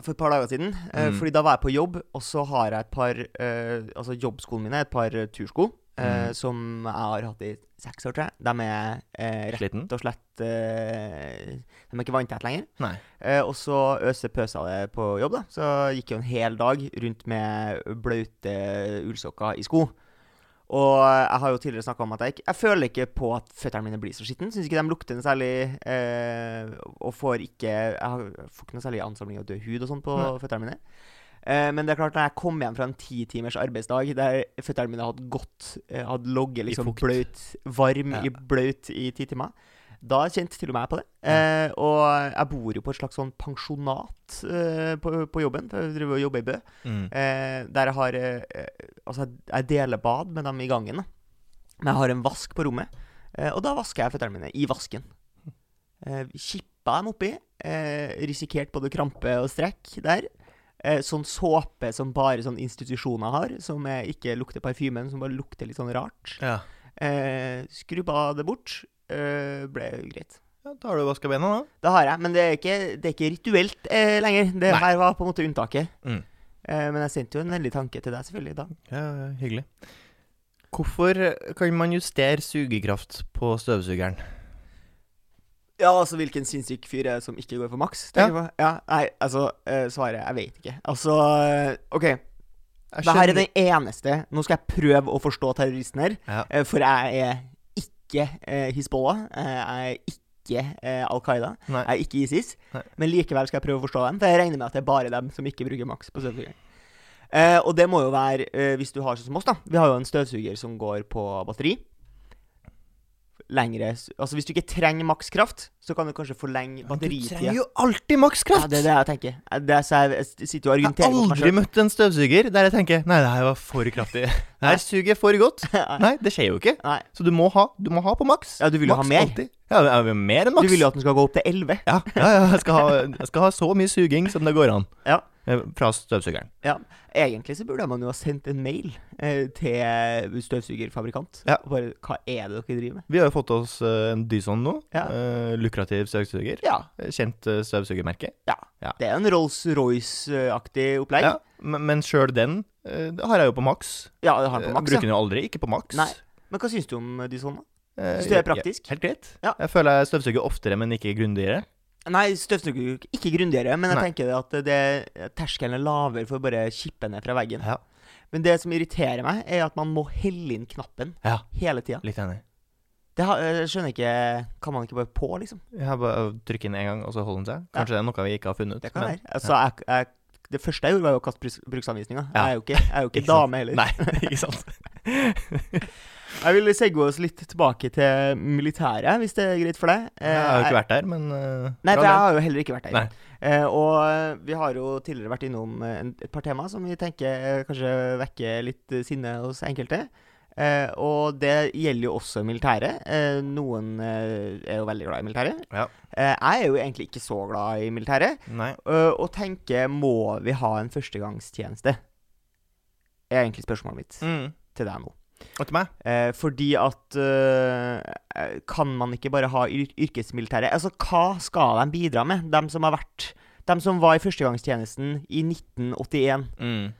Speaker 2: For et par dager siden. Eh,
Speaker 1: Mm.
Speaker 2: Fordi da var jeg på jobb, og så har jeg et par eh, Altså jobbskoene mine er et par eh, tursko. eh,
Speaker 1: Mm.
Speaker 2: Som jeg har hatt i seks år, tror jeg. De er eh, rett
Speaker 1: Sliten?
Speaker 2: og slett eh, De er ikke vanntett lenger.
Speaker 1: Nei.
Speaker 2: Eh, og så øse pøsa det på jobb, da. Så gikk jeg jo en hel dag rundt med blaute ullsokker i sko. Og jeg har jo tidligere snakka om at jeg ikke Jeg føler ikke på at føttene mine blir så skitne. Syns ikke de lukter noe særlig eh, Og får ikke Jeg har, får ikke noe særlig ansamling av død hud og sånn på
Speaker 1: Nei.
Speaker 2: føttene mine. Eh, men det er klart når jeg kom hjem fra en ti timers arbeidsdag der føttene mine hadde gått eh, Hadde ligget liksom
Speaker 1: fukt.
Speaker 2: bløt, varm
Speaker 1: Ja.
Speaker 2: i blaut i ti timer da kjente til og med jeg på det. Eh, og jeg bor jo på et slags sånn pensjonat eh, på, på jobben. for Jeg driver og jobber i Bø.
Speaker 1: Mm.
Speaker 2: Eh, der jeg har eh, eh, Altså, jeg- jeg deler bad med dem i gangen. da. Men jeg har en vask på rommet, eh, og da vasker jeg føttene mine i vasken. Eh, kippa dem oppi. Eh, risikert både krampe og strekk der. Eh, sånn såpe som bare sånn institusjoner har, som eh, ikke lukter parfymen, som bare lukter litt sånn rart.
Speaker 1: Ja.
Speaker 2: Eh, skrubba det bort. Eh, ble greit.
Speaker 1: ja. Da har du vaska bena, da.
Speaker 2: Det har jeg, men det er ikke, det er ikke rituelt eh, lenger. Det
Speaker 1: Nei.
Speaker 2: her var på en måte unntaket.
Speaker 1: Mm.
Speaker 2: Eh, men jeg sendte jo en vennlig tanke til deg selvfølgelig da.
Speaker 1: Ja, ja, hyggelig. Hvorfor kan man justere sugekraft på støvsugeren?
Speaker 2: Ja, altså hvilken sinnssyk fyr er det som ikke går for maks?
Speaker 1: Ja.
Speaker 2: tenker jeg på. ja. Nei, altså eh, svaret Jeg vet ikke. Altså eh, OK.
Speaker 1: Jeg
Speaker 2: Det her er
Speaker 1: skjønner-
Speaker 2: den eneste Nå skal jeg prøve å forstå terroristen her,
Speaker 1: Ja.
Speaker 2: eh, for jeg er ikke eh, Hizbollah. Eh, jeg er ikke eh, Al Qaida.
Speaker 1: Nei.
Speaker 2: Jeg er ikke ISIS,
Speaker 1: Nei.
Speaker 2: men likevel skal jeg prøve å forstå dem. For jeg regner med at det er bare dem som ikke bruker maks på støvsugeren. Eh, og det må jo være eh, hvis du har sånn som oss, da. Vi har jo en støvsuger som går på batteri. Lengre s- Altså hvis du ikke trenger makskraft, så kan du kanskje forlenge
Speaker 1: Men Du trenger
Speaker 2: batteritida.
Speaker 1: jo alltid
Speaker 2: Ja,
Speaker 1: makskraft!
Speaker 2: det er det jeg tenker. Eh, Det er, så jeg, jeg sitter jo og
Speaker 1: jeg
Speaker 2: argumenterer
Speaker 1: har
Speaker 2: mot meg
Speaker 1: aldri
Speaker 2: selv.
Speaker 1: møtt en støvsuger der jeg tenker Nei, det her var for
Speaker 2: <laughs>
Speaker 1: kraftig. Det her suger for godt. Nei, det skjer jo ikke.
Speaker 2: Nei.
Speaker 1: Så du må ha, du må ha på maks.
Speaker 2: <laughs> Ja, du vil jo ha
Speaker 1: Maks
Speaker 2: mer.
Speaker 1: alltid. Ja, jeg vil ha mer enn maks.
Speaker 2: Du vil jo at den skal gå opp til 11.
Speaker 1: Ja, ja, ja jeg, skal ha, jeg skal ha så mye suging som det går an.
Speaker 2: Ja.
Speaker 1: Eh, Fra støvsugeren.
Speaker 2: Ja, Egentlig så burde man jo ha sendt en mail eh, til støvsugerfabrikant.
Speaker 1: Ja.
Speaker 2: Bare hva er det dere driver med?
Speaker 1: Vi har jo fått oss eh, en Dyson nå.
Speaker 2: Ja.
Speaker 1: Eh, lukrativ støvsuger.
Speaker 2: Ja,
Speaker 1: Kjent eh, støvsugermerke.
Speaker 2: det er en Rolls-Royce-aktig opplegg.
Speaker 1: Ja, men men sjøl den eh, det har jeg jo på maks.
Speaker 2: Ja, det har
Speaker 1: Eh,
Speaker 2: den på maks.
Speaker 1: Bruker
Speaker 2: Ja.
Speaker 1: den jo aldri. Ikke på maks.
Speaker 2: Nei. Men hva syns du om de sånne?
Speaker 1: Eh,
Speaker 2: Syns du det er
Speaker 1: ja,
Speaker 2: praktisk?
Speaker 1: Helt greit.
Speaker 2: Ja.
Speaker 1: Jeg føler jeg støvsuger oftere, men ikke grundigere.
Speaker 2: Nei, støvsuger jo ikke grundigere, men jeg
Speaker 1: Nei.
Speaker 2: tenker at det, terskelen er lavere for å bare kippe ned fra veggen.
Speaker 1: Ja.
Speaker 2: Men det som irriterer meg, er at man må helle inn knappen
Speaker 1: Ja.
Speaker 2: hele tida.
Speaker 1: Litt enig.
Speaker 2: Det har, jeg skjønner ikke Kan man ikke bare på, liksom?
Speaker 1: Jeg har bare trykket inn én gang, og så holder den seg. Kanskje det er noe vi ikke har funnet ut.
Speaker 2: Det kan
Speaker 1: men-
Speaker 2: være. Altså, jeg, jeg, det første jeg gjorde, var jo å kaste brus- bruksanvisninga.
Speaker 1: Ja.
Speaker 2: Jeg er jo ikke, jeg er jo
Speaker 1: <laughs>
Speaker 2: ikke
Speaker 1: Ikke sant.
Speaker 2: dame heller.
Speaker 1: Nei, ikke sant.
Speaker 2: Jeg vil segge oss litt tilbake til militæret, hvis det er greit for deg. Eh,
Speaker 1: Jeg har jo
Speaker 2: jeg-
Speaker 1: ikke vært der, men eh, bra
Speaker 2: Nei, for jeg
Speaker 1: det.
Speaker 2: har jo heller ikke vært
Speaker 1: Nei.
Speaker 2: der. Eh, og eh, vi har jo tidligere vært innom eh, en- et par tema som vi tenker eh, kanskje vekker litt eh, sinne hos enkelte. Eh, og det gjelder jo også militæret. Eh, noen eh, er jo veldig glad i militæret.
Speaker 1: Ja.
Speaker 2: Eh, jeg er jo egentlig ikke så glad i militæret.
Speaker 1: Nei.
Speaker 2: Eh, og tenker må vi ha en førsegangstjeneste? Er egentlig spørsmålet mitt
Speaker 1: Mm.
Speaker 2: til deg nå.
Speaker 1: Og til meg?
Speaker 2: Eh, fordi at eh, Kan man ikke bare ha yr yrkesmilitære? Altså, hva skal de bidra med? De som har vært De som var i førstegangstjenesten i 1981.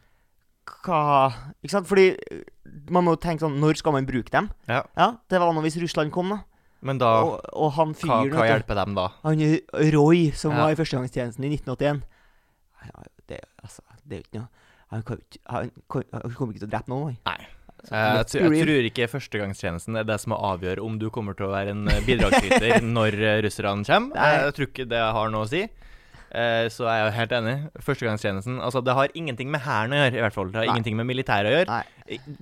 Speaker 2: Hva Ikke sant? Fordi eh, man må jo tenke sånn Når skal man bruke dem?
Speaker 1: Ja.
Speaker 2: Ja, Det var nå hvis Russland kom, da.
Speaker 1: Men da
Speaker 2: Og, og han
Speaker 1: hva,
Speaker 2: fyren
Speaker 1: hva
Speaker 2: vet du,
Speaker 1: hjelper dem da?
Speaker 2: Han eh, Roy, som
Speaker 1: Ja.
Speaker 2: var i førstegangstjenesten i 1981 ja, det, altså, det er jo ikke noe Han kan jo ikke- han kan- han kommer ikke til å drepe noen, han.
Speaker 1: Nei.
Speaker 2: Så
Speaker 1: Eh, Jeg,
Speaker 2: let's
Speaker 1: tr-
Speaker 2: be
Speaker 1: jeg
Speaker 2: real.
Speaker 1: tror ikke førstegangstjenesten er det som må avgjøre om du kommer til å være en eh,
Speaker 2: <laughs>
Speaker 1: bidragsyter når eh, russerne kommer.
Speaker 2: Nei.
Speaker 1: Eh, Jeg tror ikke det har noe å si. Eh, Så jeg er jo helt enig. Førstegangstjenesten Altså, det har ingenting med hæren å gjøre, i hvert fall. Det har
Speaker 2: Nei.
Speaker 1: ingenting med militæret å gjøre.
Speaker 2: Nei.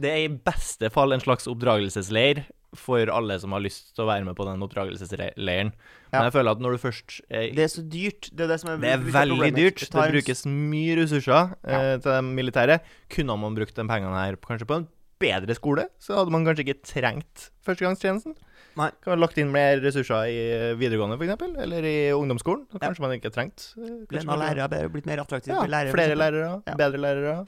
Speaker 1: Det er i beste fall en slags oppdragelsesleir for alle som har lyst til å være med på den oppdragelsesleiren. Men
Speaker 2: Ja.
Speaker 1: jeg føler at når du først eh,
Speaker 2: Det er så dyrt. Det er det som er
Speaker 1: Det er
Speaker 2: litt av
Speaker 1: veldig
Speaker 2: problemet.
Speaker 1: dyrt. Det
Speaker 2: tar en-
Speaker 1: brukes mye ressurser eh, til det militære. Kunne man brukt de pengene her kanskje på en bedre skole, så hadde man kanskje ikke trengt førstegangstjenesten.
Speaker 2: Nei.
Speaker 1: Kan man lagt inn mer ressurser i eh, videregående, f.eks., eller i ungdomsskolen. Så
Speaker 2: Ja.
Speaker 1: kanskje man ikke trengt eh, kanskje
Speaker 2: Lønna
Speaker 1: man-
Speaker 2: lærere har blitt mer attraktive.
Speaker 1: Ja,
Speaker 2: for lærere, for
Speaker 1: flere
Speaker 2: eksempel.
Speaker 1: lærere,
Speaker 2: Ja.
Speaker 1: bedre lærere.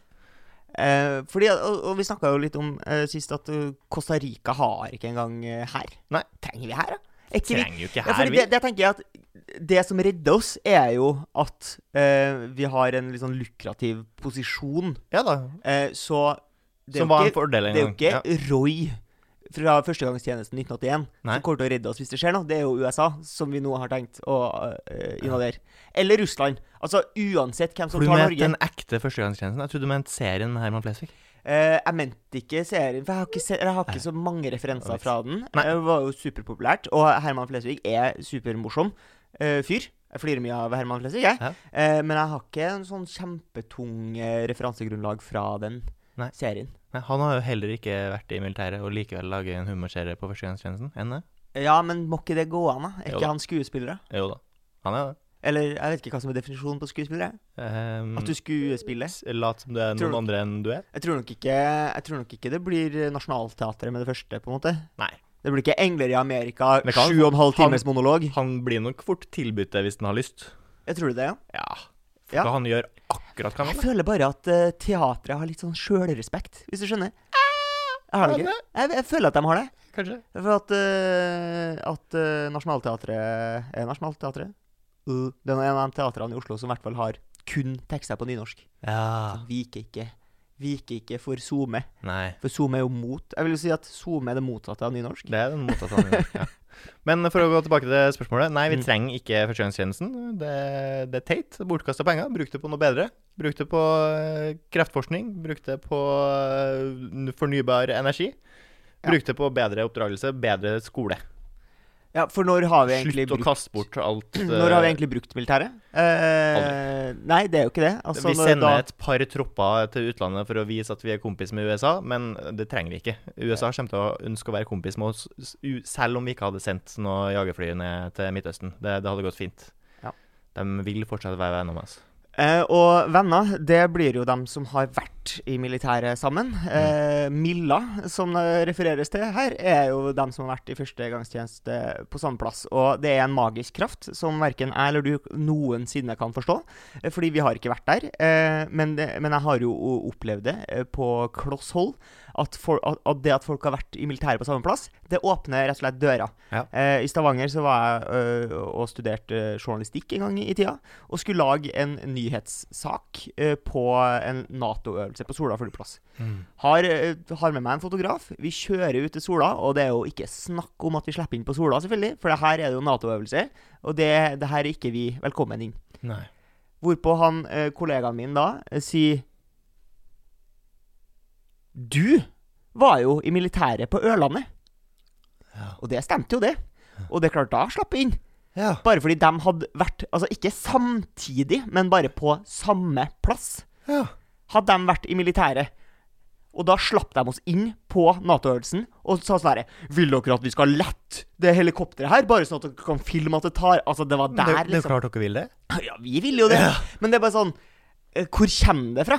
Speaker 2: Eh, fordi, og, og vi snakka jo litt om eh, sist at eh, Costa Rica har ikke engang eh, her.
Speaker 1: Nei.
Speaker 2: Trenger vi her, da? Er ikke vi
Speaker 1: Trenger jo ikke
Speaker 2: ja,
Speaker 1: her,
Speaker 2: fordi
Speaker 1: vi.
Speaker 2: det, det tenker jeg at det som redder oss, er jo at eh, vi har en litt sånn lukrativ posisjon.
Speaker 1: Ja da.
Speaker 2: Eh, så det er
Speaker 1: Som
Speaker 2: jo
Speaker 1: var en
Speaker 2: ikke,
Speaker 1: fordel en
Speaker 2: det er jo
Speaker 1: gang.
Speaker 2: ikke
Speaker 1: Ja.
Speaker 2: Roy fra førstegangstjenesten 1981
Speaker 1: Nei.
Speaker 2: som kommer til å redde oss hvis det skjer noe. Det er jo USA, som vi nå har tenkt å eh, invadere. Eller Russland. Altså uansett hvem som
Speaker 1: For du
Speaker 2: tar
Speaker 1: mente
Speaker 2: Norge.
Speaker 1: den ekte førstegangstjenesten? Jeg trodde du mente serien med Herman Flesvig.
Speaker 2: Eh, jeg mente ikke serien, for jeg har ikke, se, jeg har ikke så mange referanser fra den.
Speaker 1: Nei.
Speaker 2: Det var jo superpopulært, og Herman Flesvig er supermorsom eh, fyr. Jeg flirer mye av Herman Flesvig, jeg.
Speaker 1: Ja.
Speaker 2: Eh, men jeg har ikke en sånn kjempetung eh, referansegrunnlag fra den
Speaker 1: Nei.
Speaker 2: serien.
Speaker 1: Nei, Han har jo heller ikke vært i militæret og likevel lager en humorserie på førstegangstjenesten. Enn det?
Speaker 2: Ja, men må ikke det gå an, da? Er
Speaker 1: Jo
Speaker 2: ikke
Speaker 1: da.
Speaker 2: han skuespillere?
Speaker 1: Jo da. Han er det.
Speaker 2: Eller jeg vet ikke hva som er definisjonen på skuespillere.
Speaker 1: Um,
Speaker 2: At du skuespiller.
Speaker 1: Lat som det er
Speaker 2: Tror
Speaker 1: noen
Speaker 2: du-
Speaker 1: andre enn du er?
Speaker 2: Jeg tror nok ikke, jeg tror nok ikke det blir eh, Nationaltheatret med det første, på en måte.
Speaker 1: Nei.
Speaker 2: Det blir ikke 'Engler i Amerika',
Speaker 1: Det kan-
Speaker 2: sju og en halv
Speaker 1: han-
Speaker 2: times monolog.
Speaker 1: Han blir nok fort tilbudt det hvis han har lyst.
Speaker 2: Jeg tror det, ja.
Speaker 1: Ja.
Speaker 2: Ja.
Speaker 1: For han gjør akkurat hva han
Speaker 2: Jeg
Speaker 1: vil.
Speaker 2: føler bare at eh, teatret har litt sånn sjølrespekt, hvis du skjønner. Jeg har det ikke. Jeg, jeg føler at de har det.
Speaker 1: Kanskje.
Speaker 2: For at, eh, at eh, Nationaltheatret er Nationaltheatret. Uh, det er en av de teatrene i Oslo som i hvert fall har kun tekster på nynorsk.
Speaker 1: Ja.
Speaker 2: Viker ikke. Viker ikke for SoMe.
Speaker 1: Nei.
Speaker 2: For SoMe er jo mot Jeg vil jo si at SoMe er det motsatte av nynorsk.
Speaker 1: Det er den mottatt han gjør. Ja. Men for å gå tilbake til det spørsmålet. Nei, vi trenger ikke førstegangstjenesten. Det, det er teit. Bortkasta penger. Bruk det på noe bedre. Bruk det på eh, kreftforskning. Bruk det på eh, fornybar energi.
Speaker 2: Ja.
Speaker 1: Bruk det på bedre oppdragelse, bedre skole.
Speaker 2: Ja, for når har vi egentlig
Speaker 1: Slutt å kaste bort alt eh,
Speaker 2: Når har vi egentlig brukt militæret? Eh, nei, det er jo ikke det. Altså,
Speaker 1: vi
Speaker 2: når
Speaker 1: sender
Speaker 2: da-
Speaker 1: et par tropper til utlandet for å vise at vi er kompis med USA, men det trenger vi ikke. USA kommer til å ønske å være kompis med oss s- u- selv om vi ikke hadde sendt noen jagerfly ned til Midtøsten. Det, det hadde gått fint.
Speaker 2: Ja.
Speaker 1: De vil fortsatt være venner med oss.
Speaker 2: Eh, og venner, det blir jo dem som har vært i militæret sammen. Eh, Milla, som det refereres til her, er jo dem som har vært i førstegangstjeneste på samme plass. Og det er en magisk kraft som verken jeg eller du noensinne kan forstå. eh, Fordi vi har ikke vært der. Eh, men, det, men jeg har jo o- opplevd det eh, på kloss hold. At, for, at, at det at folk har vært i militæret på samme plass, det åpner rett og slett døra.
Speaker 1: Ja.
Speaker 2: Eh, I Stavanger så var jeg øh, og studerte journalistikk en gang i tida og skulle lage en nyhetssak eh, på en Nato-øvelse på Sola flyplass.
Speaker 1: Mm.
Speaker 2: Har, eh, har med meg en fotograf. Vi kjører ut til Sola, og det er jo ikke snakk om at vi slipper inn på Sola, selvfølgelig, for det her er det jo Nato-øvelse, og det, det her er ikke vi velkommen inn.
Speaker 1: Nei.
Speaker 2: Hvorpå han, eh, kollegaen min da, eh, sier Du var jo i militæret på Ørlandet.
Speaker 1: Ja.
Speaker 2: Og det stemte jo, det. Og det er klart, da slapp jeg inn.
Speaker 1: Ja.
Speaker 2: Bare fordi de hadde vært Altså ikke samtidig, men bare på samme plass.
Speaker 1: Ja.
Speaker 2: Hadde de vært i militæret. Og da slapp de oss inn på Nato-øvelsen og sa sånn herre Vil dere at vi skal lette det helikopteret her, bare sånn at dere kan filme at det tar Altså, det var
Speaker 1: Det,
Speaker 2: der,
Speaker 1: det er jo
Speaker 2: liksom.
Speaker 1: klart dere vil det.
Speaker 2: Ja, vi ville jo det. Men det er bare sånn eh, Hvor kommer det fra?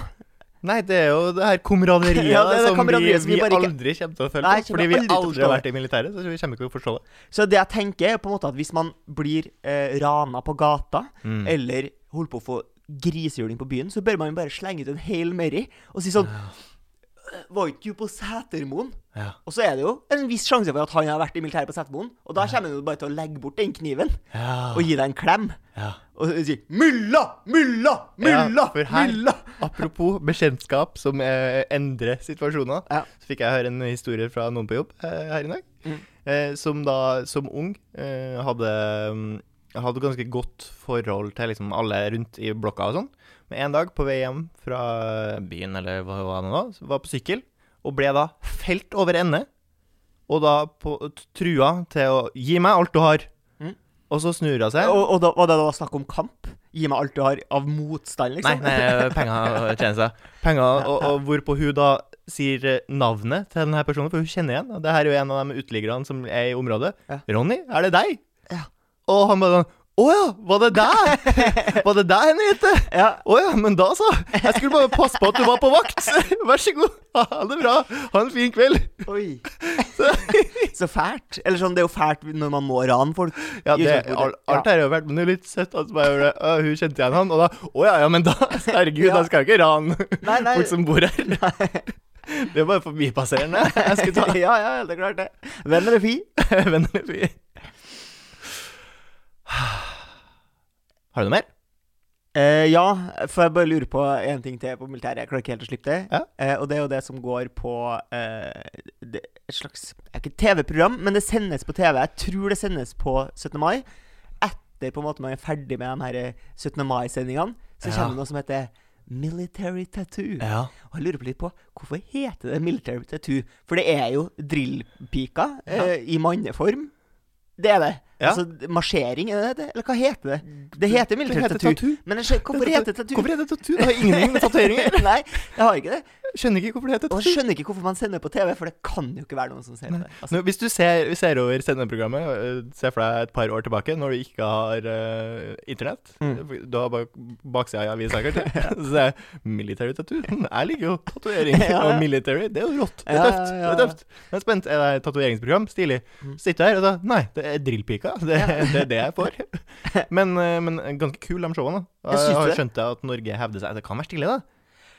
Speaker 1: Nei, det er jo det her kameraderiet
Speaker 2: <laughs> Ja, det er det
Speaker 1: som vi,
Speaker 2: kameraderiet som vi
Speaker 1: vi
Speaker 2: bare ikke-
Speaker 1: aldri kommer til å føle.
Speaker 2: Nei,
Speaker 1: på,
Speaker 2: kommer
Speaker 1: fordi vi
Speaker 2: aldri til å
Speaker 1: aldri har
Speaker 2: forstå
Speaker 1: vært i militæret, så vi kommer ikke til å forstå det.
Speaker 2: Så det jeg tenker, er på en måte at hvis man blir eh, rana på gata,
Speaker 1: Mm.
Speaker 2: eller holder på å få grisehjuling på byen, så bør man jo bare slenge ut en Hail Mary og si sånn var ikke du på Setermoen?
Speaker 1: Ja.
Speaker 2: Og så er det jo en viss sjanse for at han har vært i militæret på Setermoen, og da kommer han jo bare til å legge bort den kniven
Speaker 1: Ja.
Speaker 2: og gi deg en klem.
Speaker 1: ja.
Speaker 2: Og si 'Mulla! Mulla! Mulla!
Speaker 1: for her-
Speaker 2: mulla!'
Speaker 1: Apropos bekjentskap som eh, endrer situasjoner,
Speaker 2: Ja. Mm.
Speaker 1: så fikk jeg høre en historie fra noen på jobb eh, her i dag. Eh, som da, som ung, eh, hadde, mm, hadde ganske godt forhold til liksom alle rundt i blokka og sånn. Men en dag på vei hjem fra byen, eller hva hva det nå var, så var på sykkel, og ble da felt over ende. Og da på, trua til å 'gi meg alt du har'.
Speaker 2: Mm.
Speaker 1: Og så snur hun seg.
Speaker 2: Og, og da var det da snakk om kamp? Gi meg alt du har av motstand,
Speaker 1: Nei,
Speaker 2: liksom?
Speaker 1: nei, penger og tjenester. Penger, og, og hvorpå hun da sier eh, navnet til denne personen, for hun kjenner igjen. Og det her er jo en av de uteliggerne som er i området.
Speaker 2: Ja.
Speaker 1: 'Ronny, er det deg?'
Speaker 2: Ja.
Speaker 1: Og han bare sånn 'Å ja, var det deg? var det deg, Henriette?'
Speaker 2: <laughs> Ja.
Speaker 1: 'Å ja, men da så. Jeg skulle bare passe på at du var på vakt. <laughs> Vær så god. Ha det bra. Ha en fin kveld.'
Speaker 2: Oi. <laughs> Så fælt. Eller sånn, det er jo fælt når man må rane folk.
Speaker 1: Ja,
Speaker 2: i
Speaker 1: det,
Speaker 2: utgangspunktet.
Speaker 1: al- alt her har jo vært Men det er litt søtt at bare, gjorde det. Å, hun kjente igjen han, og da 'Å ja, ja, men da Herregud,
Speaker 2: Ja.
Speaker 1: da skal jeg ikke rane
Speaker 2: Nei, nei.
Speaker 1: folk som bor her. Det er bare forbipasserende. Jeg skulle <laughs> ta
Speaker 2: <laughs> ja, ja, det er klart det. Venn eller fi?
Speaker 1: venner eller fy. Har du noe mer?
Speaker 2: Eh, ja, for jeg bare lurer på en ting til på militæret. Jeg klarer ikke helt å slippe det.
Speaker 1: Ja.
Speaker 2: Eh, og det er jo det som går på eh, det, et slags det er ikke et TV-program, men det sendes på TV. Jeg tror det sendes på 17. mai. Etter på en måte man er ferdig med de her eh, 17. mai-sendingene, så
Speaker 1: Ja.
Speaker 2: kommer det noe som heter Military Tattoo.
Speaker 1: Ja.
Speaker 2: Og jeg lurer på litt på hvorfor heter det Military Tattoo? For det er jo drillpiker eh, i manneform. Det er det.
Speaker 1: Ja.
Speaker 2: Altså marsjering, er det det? Eller hva heter det? Det heter Military
Speaker 1: heter
Speaker 2: Tattoo.
Speaker 1: tattoo.
Speaker 2: Men jeg skjønner, hvorfor heter det tattoo?
Speaker 1: Hvorfor heter det tattoo? Det har
Speaker 2: <laughs>
Speaker 1: ingenting med tatovering å gjøre.
Speaker 2: Nei, jeg har ikke det.
Speaker 1: Skjønner ikke hvorfor det heter
Speaker 2: Og
Speaker 1: tattoo.
Speaker 2: jeg skjønner ikke hvorfor man sender det på TV, for det kan jo ikke være noen som ser på det. Altså,
Speaker 1: Nå, hvis du ser, ser over sendeprogrammet, øh, se for deg et par år tilbake, når du ikke har øh, internett
Speaker 2: Mm.
Speaker 1: Du har Eh, bak, baksida i avisa, kanskje.
Speaker 2: <laughs>
Speaker 1: <laughs> Så ser jeg military tattoo. Hm, Jeg liker jo tatovering.
Speaker 2: <laughs> Ja, ja.
Speaker 1: Og military, det er jo rått. Det er
Speaker 2: Ja, ja,
Speaker 1: tøft. Det
Speaker 2: ja, Mm.
Speaker 1: er tøft. Jeg er spent. Er det et tatoveringsprogram? Stilig. Så sitter jeg her og da Nei, det er drillpika. Det, <laughs> det er det jeg får.
Speaker 2: <laughs>
Speaker 1: Men, øh, men ganske kul, de showene.
Speaker 2: Jeg syns
Speaker 1: Jeg har
Speaker 2: det.
Speaker 1: skjønt det at Norge hevder seg. Det kan være stille, da.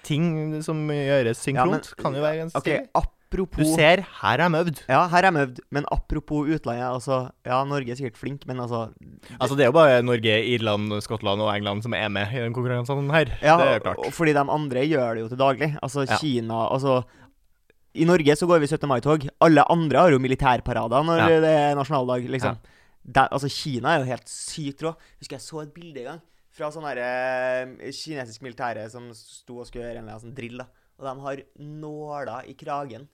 Speaker 1: Ting som gjøres
Speaker 2: Ja, men-
Speaker 1: synkront, kan jo være ganske
Speaker 2: Ok,
Speaker 1: stille. Du
Speaker 2: apropos
Speaker 1: ser, her er de øvd.
Speaker 2: Ja, her er møvd, men apropos utlandet, altså Ja, Norge er sikkert flink, men altså
Speaker 1: Altså, det er jo bare Norge, Irland, Skottland og England som er med i den konkurransen her.
Speaker 2: Ja,
Speaker 1: det er jo klart.
Speaker 2: og fordi de andre gjør det jo til daglig. Altså
Speaker 1: Ja.
Speaker 2: Kina Altså I Norge så går vi 17. mai-tog. Alle andre har jo militærparader når
Speaker 1: Ja.
Speaker 2: det er nasjonaldag, liksom. Der, altså Kina er jo helt sykt rå. Husker jeg så et bilde en gang fra sånn herre kinesisk militære som sto og skulle gjøre en eller annen sånn drill, da. Og de har nåler i kragen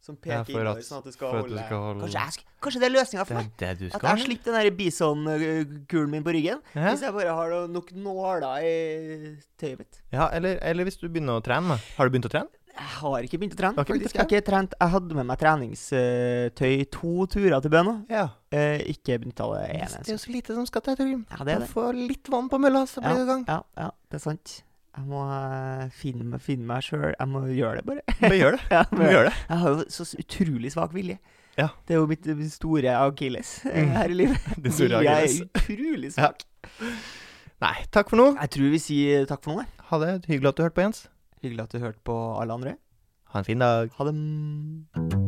Speaker 2: som
Speaker 1: Ja,
Speaker 2: peker
Speaker 1: for
Speaker 2: innover,
Speaker 1: at-
Speaker 2: sånn at du
Speaker 1: for
Speaker 2: skal
Speaker 1: at du
Speaker 2: holde,
Speaker 1: skal holde-
Speaker 2: Kanskje, jeg sk Kanskje det er løsninga for meg?
Speaker 1: det du
Speaker 2: At jeg slipper den der bisonkulen min på ryggen.
Speaker 1: Ja.
Speaker 2: Hvis jeg bare har noe- nok nåler i tøyet mitt.
Speaker 1: Ja, eller, eller hvis du begynner å trene. da. Har du begynt å trene?
Speaker 2: Jeg har ikke begynt å trene.
Speaker 1: Du har ikke begynt å
Speaker 2: faktisk. Jeg har ikke trent. Jeg hadde med meg treningstøy to turer til Bøna.
Speaker 1: Ja.
Speaker 2: Eh, ikke begynt av det ene.
Speaker 1: Det er jo så lite som skal til, Torgrim.
Speaker 2: Ja, det er det.
Speaker 1: Få litt vann på mølla, så
Speaker 2: Ja,
Speaker 1: blir du i <laughs> gang.
Speaker 2: ja, ja, det er sant. Jeg må eh, finne, meg- finne meg sjøl. Jeg må gjøre det, bare.
Speaker 1: Bare gjør det.
Speaker 2: Ja,
Speaker 1: <laughs> Du må gjøre det.
Speaker 2: Jeg har jo så s- utrolig svak vilje.
Speaker 1: Ja.
Speaker 2: Det er jo mitt eh, store akilles eh, her i
Speaker 1: <laughs>
Speaker 2: livet.
Speaker 1: Din store
Speaker 2: Vilje
Speaker 1: akilles.
Speaker 2: er utrolig
Speaker 1: Ja.
Speaker 2: svak.
Speaker 1: Nei, takk for nå.
Speaker 2: Jeg tror vi sier takk for nå. jeg.
Speaker 1: Ha det. Hyggelig at du hørte på, Jens.
Speaker 2: Hyggelig at du hørte på alle andre.
Speaker 1: Ha en fin dag.
Speaker 2: Ha det.